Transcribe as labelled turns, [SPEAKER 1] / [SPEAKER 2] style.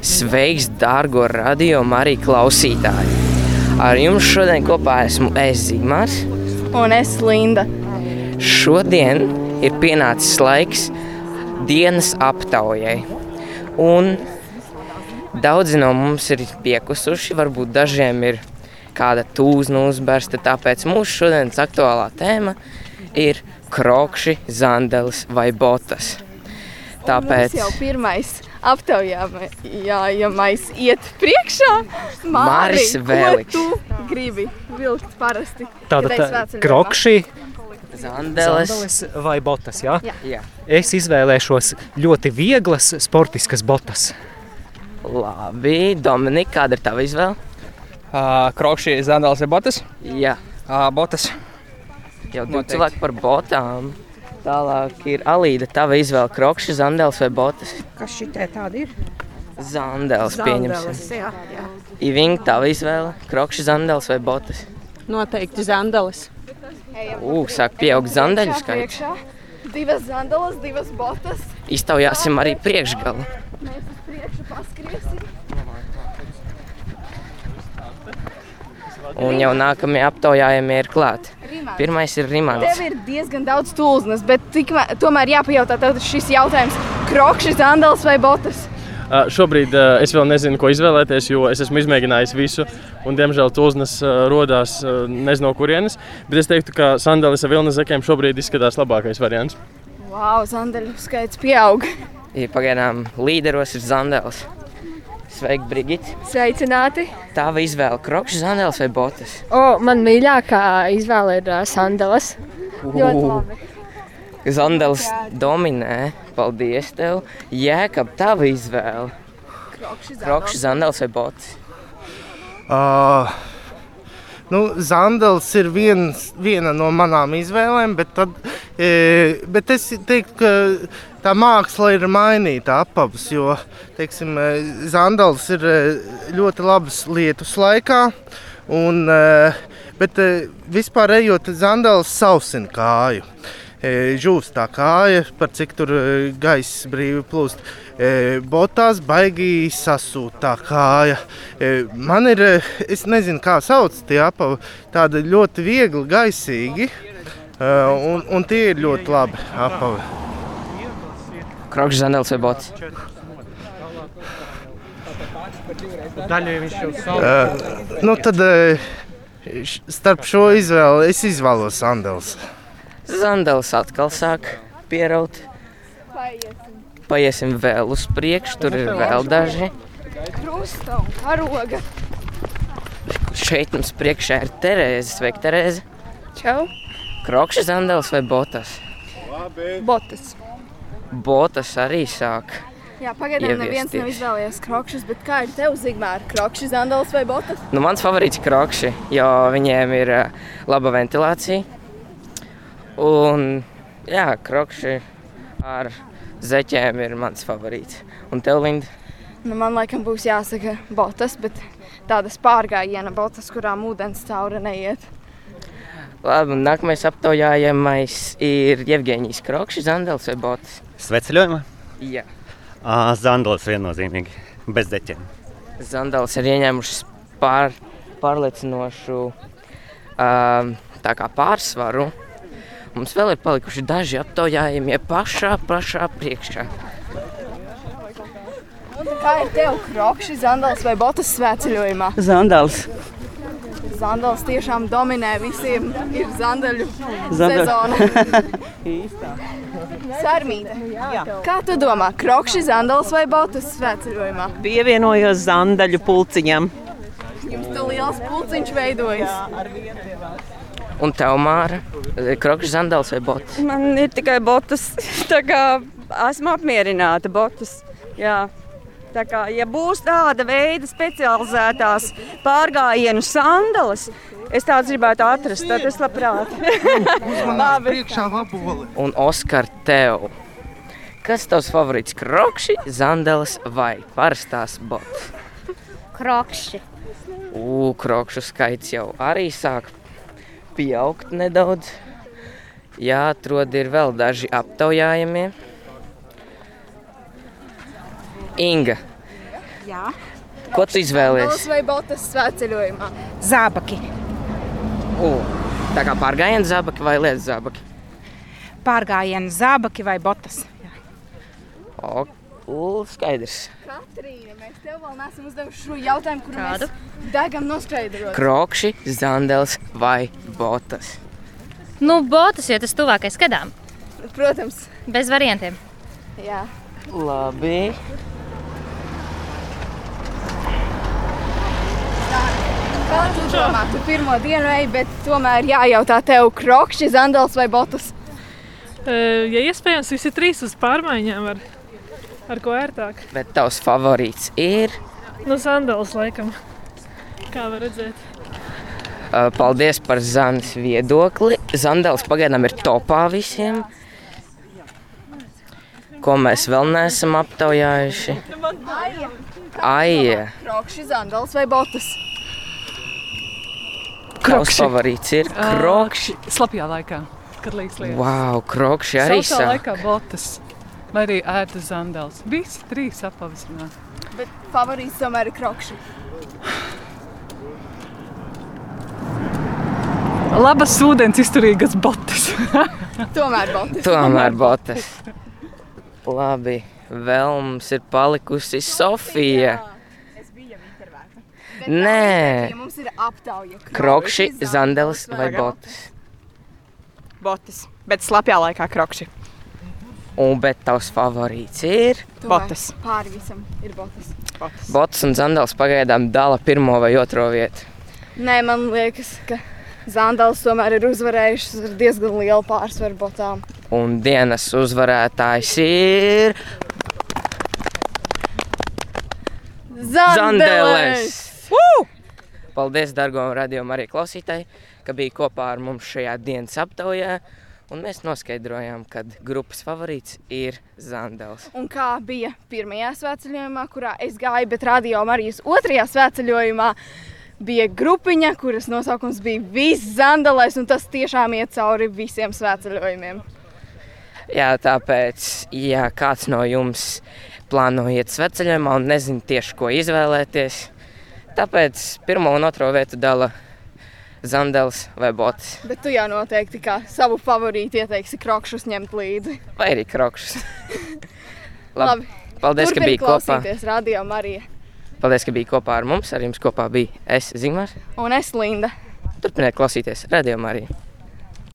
[SPEAKER 1] Sveiks, dārgo radio Marija klausītāji! Ar jums šodien kopā esmu es Zigmārs.
[SPEAKER 2] Un es Linda.
[SPEAKER 1] Šodien ir pienācis laiks dienas aptaujai. Un daudzi no mums ir piekusuši, varbūt dažiem ir kāda tūzna uzbērsta. Tāpēc mūsu šodienas aktuālā tēma ir krokšļi, zandelis vai botas.
[SPEAKER 2] Tāpēc
[SPEAKER 1] Tāpēc
[SPEAKER 2] jau pirmais aptaujājamais iet priekšā.
[SPEAKER 1] Māris
[SPEAKER 2] Māri, ko
[SPEAKER 1] Vēliks.
[SPEAKER 2] Tu gribi vilkt parasti.
[SPEAKER 3] Tāda
[SPEAKER 2] kad
[SPEAKER 3] tā,
[SPEAKER 2] es vecumā
[SPEAKER 3] krokšī,
[SPEAKER 1] zandelis.
[SPEAKER 3] zandeles vai botas, jā?
[SPEAKER 2] Jā.
[SPEAKER 1] Jā.
[SPEAKER 3] Es izvēlēšos ļoti vieglas sportiskas botas.
[SPEAKER 1] Labi, Dominika, kāda ir tava izvēle?
[SPEAKER 4] Uh, Krokšķīja zandāls ir botas.
[SPEAKER 1] Jā,
[SPEAKER 4] Uh, botas.
[SPEAKER 1] jau divi
[SPEAKER 4] Noteikti.
[SPEAKER 1] cilvēki par botām. Tālāk ir Alīda. Tava izvēle krokšs, zandels vai botas?
[SPEAKER 5] Kas šitie tādi ir?
[SPEAKER 1] Zandels, pieņemsim.
[SPEAKER 5] jā, jā.
[SPEAKER 1] Iving, tava izvēle krokšs, zandels vai botas?
[SPEAKER 5] Noteikti zandalis.
[SPEAKER 2] Ejam
[SPEAKER 1] Ū, sāk pieaugt zandeļu
[SPEAKER 2] priekšā,
[SPEAKER 1] skaits.
[SPEAKER 2] priekšā. Divas zandalas, divas botas.
[SPEAKER 1] Iztaujāsim arī priekšgalu.
[SPEAKER 2] Mēs uz priekšu paskriesim.
[SPEAKER 1] Un jau nākamie aptaujājumi ir klāt.
[SPEAKER 2] Rimā.
[SPEAKER 1] Pirmais ir
[SPEAKER 2] Tev
[SPEAKER 1] Rimans.
[SPEAKER 2] ir diezgan daudz tūlznes, bet tikmēr, tomēr jāpajautā tev šis jautājums. Krokšs, zandalas vai botas?
[SPEAKER 6] Uh, šobrīd uh, es vēl nezinu, ko izvēlēties, jo es esmu izmēģinājis visu, un, diemžēl, tūznes uh, radās uh, nezinu, no kurienes. Bet es teiktu, ka sandālis ar vilnu zekiem šobrīd izskatās labākais variants.
[SPEAKER 2] Wow, zandaļu skaits pieaug.
[SPEAKER 1] Ir pagaidām līderos ir zandels. Sveiki, Brigita!
[SPEAKER 7] Sveicināti!
[SPEAKER 1] Tava izvēle krokšs, zandels vai botas?
[SPEAKER 7] O, man mīļākā izvēle ir uh, sandales. Ļoti labi.
[SPEAKER 1] Zandels dominē. Paldies tev. Jēkab, tava izvēle. Krokšs, zandels vai bots?
[SPEAKER 8] Uh, nu, Zandels ir viens, viena no manām izvēlēm, bet, tad, e, bet es teiktu, ka tā māksla ir mainīta apavs. Jo teiksim, e, Zandels ir e, ļoti labs lietus laikā. Un, e, bet e, vispār ejot, Zandels sausina kāju. E, Žūst tā kāja, par cik tur e, gaiss brīvi plūst. E, Botās baigīgi sasūta tā kāja. E, Man ir, e, es nezinu, kā sauc tie apavi, tādi ļoti viegli, gaisīgi. E, Un, un tie ir ļoti labi apavi.
[SPEAKER 1] Krokšs, zandels vai bots?
[SPEAKER 8] Nu, tad e, š- starp šo izvēli es izvēlos Andels.
[SPEAKER 1] Zandels atkal sāk pieraut. Paiesim vēl uz priekšu, tur ir vēl daži.
[SPEAKER 2] Krusta un karoga.
[SPEAKER 1] Šeit mums priekšā ir Terēze. Sveika, Terēze.
[SPEAKER 7] Čau!
[SPEAKER 1] Krokšs, zandels vai botas?
[SPEAKER 7] Botas!
[SPEAKER 1] Botas arī sāk.
[SPEAKER 2] Jā, pagaidām
[SPEAKER 1] Ieviesties.
[SPEAKER 2] neviens nav izvēlējies krokšus, bet kā ir tev, Zigmār, krokšus, zandalas vai botas?
[SPEAKER 1] Nu, mans favorīts ir krokši, jo viņiem ir ā, laba ventilācija. Un, jā, krokši ar zeķiem ir mans favorīts. Un tev, Linda,
[SPEAKER 2] Nu, man laikam būs jāsaka botas, bet tādas pārgājiena botas, kurām ūdens cauri neiet.
[SPEAKER 1] labi, un nākamais aptaujājamais ir Jevģīnijas krokši, Zandels vai Botas.
[SPEAKER 9] Sveceļojumā?
[SPEAKER 1] Jā,
[SPEAKER 9] Zandalis viennozīmīgi, bez deķiem.
[SPEAKER 1] Zandels ir ieņēmušas pār, pārliecinošu um, tā kā pārsvaru. Mums vēl ir palikuši daži aptaujājumie pašā, pašā priekšā.
[SPEAKER 2] Kā ir tev, krokšus, zandalas vai botas svētceļojumā?
[SPEAKER 10] Zandāls.
[SPEAKER 2] Zandalas tiešām dominē visiem, ir zandaļu sezona. Sarmīte, kā tu domā, krokšus, zandalas vai botas svētceļojumā?
[SPEAKER 10] Pievienojos zandaļu pulciņam.
[SPEAKER 2] Jums tu liels pulciņš veidojas.
[SPEAKER 1] Un tev, Māra, krokšs, zandels vai bots?
[SPEAKER 7] Man ir tikai botas. Tā kā esmu apmierināta botas. Jā. Tā kā ja būs tāda veida specializētās pārgājienu sandalas, es tādas gribētu atrast. Tad es labprāt. Labi.
[SPEAKER 8] Priekšā laboli.
[SPEAKER 1] un Oskar tev. Kas tavs favorīts? Krokšs, zandels vai parastās botas?
[SPEAKER 7] Krokšķi.
[SPEAKER 1] Ugh, krokšu skaits jau arī sāk pieaugt nedaudz. Jāatrod ir vēl daži aptaujājamie. Inga,
[SPEAKER 2] Jā.
[SPEAKER 1] Ko tu izvēlējies?
[SPEAKER 2] Botas vai botas svētceļojumā?
[SPEAKER 11] Zābaki.
[SPEAKER 1] U, Tā kā pārgājienu zābaki vai lietu zābaki?
[SPEAKER 11] Pārgājienu zābaki vai botas.
[SPEAKER 1] O, u, skaidrs.
[SPEAKER 2] Katrīna, mēs tev vēl neesam uzdevuši šo jautājumu, kuru Kādu? mēs degam noskaidrot.
[SPEAKER 1] Krokši, zandels vai botas?
[SPEAKER 12] Nu, botas, jo tas tuvākais gadām.
[SPEAKER 2] Protams.
[SPEAKER 12] Bez variantiem.
[SPEAKER 2] Jā.
[SPEAKER 1] Labi.
[SPEAKER 2] Kā tu domā, tu pirmo dienu ej, bet tomēr jājautā tev krokšķi, zandals vai botas?
[SPEAKER 13] Ja iespējams, visi trīs uz pārmaiņām var. Ar ko ērtāk?
[SPEAKER 1] Bet tavs favorīts ir?
[SPEAKER 13] Nu, sandāls laikam. Kā var redzēt?
[SPEAKER 1] Uh, Paldies par Zandes viedokli. Zandels pagaidām ir topā visiem. Ko mēs vēl neesam aptaujājuši? Aija.
[SPEAKER 2] Krokšķi, zandals vai botas?
[SPEAKER 1] Tavs favorīts ir krokšķi.
[SPEAKER 14] Slapjā laikā, kad liekas lietas.
[SPEAKER 1] Wow, krokšķi arī
[SPEAKER 14] Sausā
[SPEAKER 1] sāk.
[SPEAKER 14] laikā botas vai arī ērtas zandels. Visi trīs apavisināt.
[SPEAKER 2] Bet favorīts tomēr ir krokšķi.
[SPEAKER 14] Labas ūdens izturīgas botas.
[SPEAKER 2] Tomēr botas.
[SPEAKER 1] Tomēr botas. Labi, vēl mums ir palikusi Sofija. Nē,
[SPEAKER 2] Ja mums ir aptauja.
[SPEAKER 1] krokšķi, zandels vai botas.
[SPEAKER 5] Botas, bet slapjā laikā krokšļi.
[SPEAKER 1] Un bet tavs favorīts ir?
[SPEAKER 5] Botas.
[SPEAKER 2] Pāri visam ir botas. botas.
[SPEAKER 1] Bots un Zandels pagaidām dala pirmo vai otro vietu.
[SPEAKER 2] Nē, man liekas, ka zandals tomēr ir uzvarējušas ar diezgan lielu pārsvaru botām.
[SPEAKER 1] Un dienas uzvarētājs ir Zandeles. Paldies, dargo radio arī klausītāji, ka bija kopā ar mums šajā dienas aptaujā. Un mēs noskaidrojām, ka grupas favorīts ir Zandels.
[SPEAKER 2] Un kā bija pirmajā svētceļojumā, kurā es gāju, bet radio Marijas otrajā svētceļojumā bija grupiņa, kuras nosaukums bija Viss Zandelais, un tas tiešām iet cauri visiem svētceļojumiem.
[SPEAKER 1] Jā, tāpēc, ja kāds no jums plāno iet sveceļojumā un nezina tieši, ko izvēlēties, tāpēc pirmo un otro vietu dala Zandels vai Bots
[SPEAKER 2] Bet tu jau noteikti kā savu favorītu ieteiksi krokšus ņemt līdzi.
[SPEAKER 1] vai arī Krokšs. Labi. Paldies, ka
[SPEAKER 2] Turpini
[SPEAKER 1] biji kopā.
[SPEAKER 2] klausīties radio Marija.
[SPEAKER 1] Paldies, ka biji kopā ar mums. Ar jums kopā bija es, Zimārs.
[SPEAKER 2] Un es Linda.
[SPEAKER 1] Turpiniet klausīties Radio Mariju.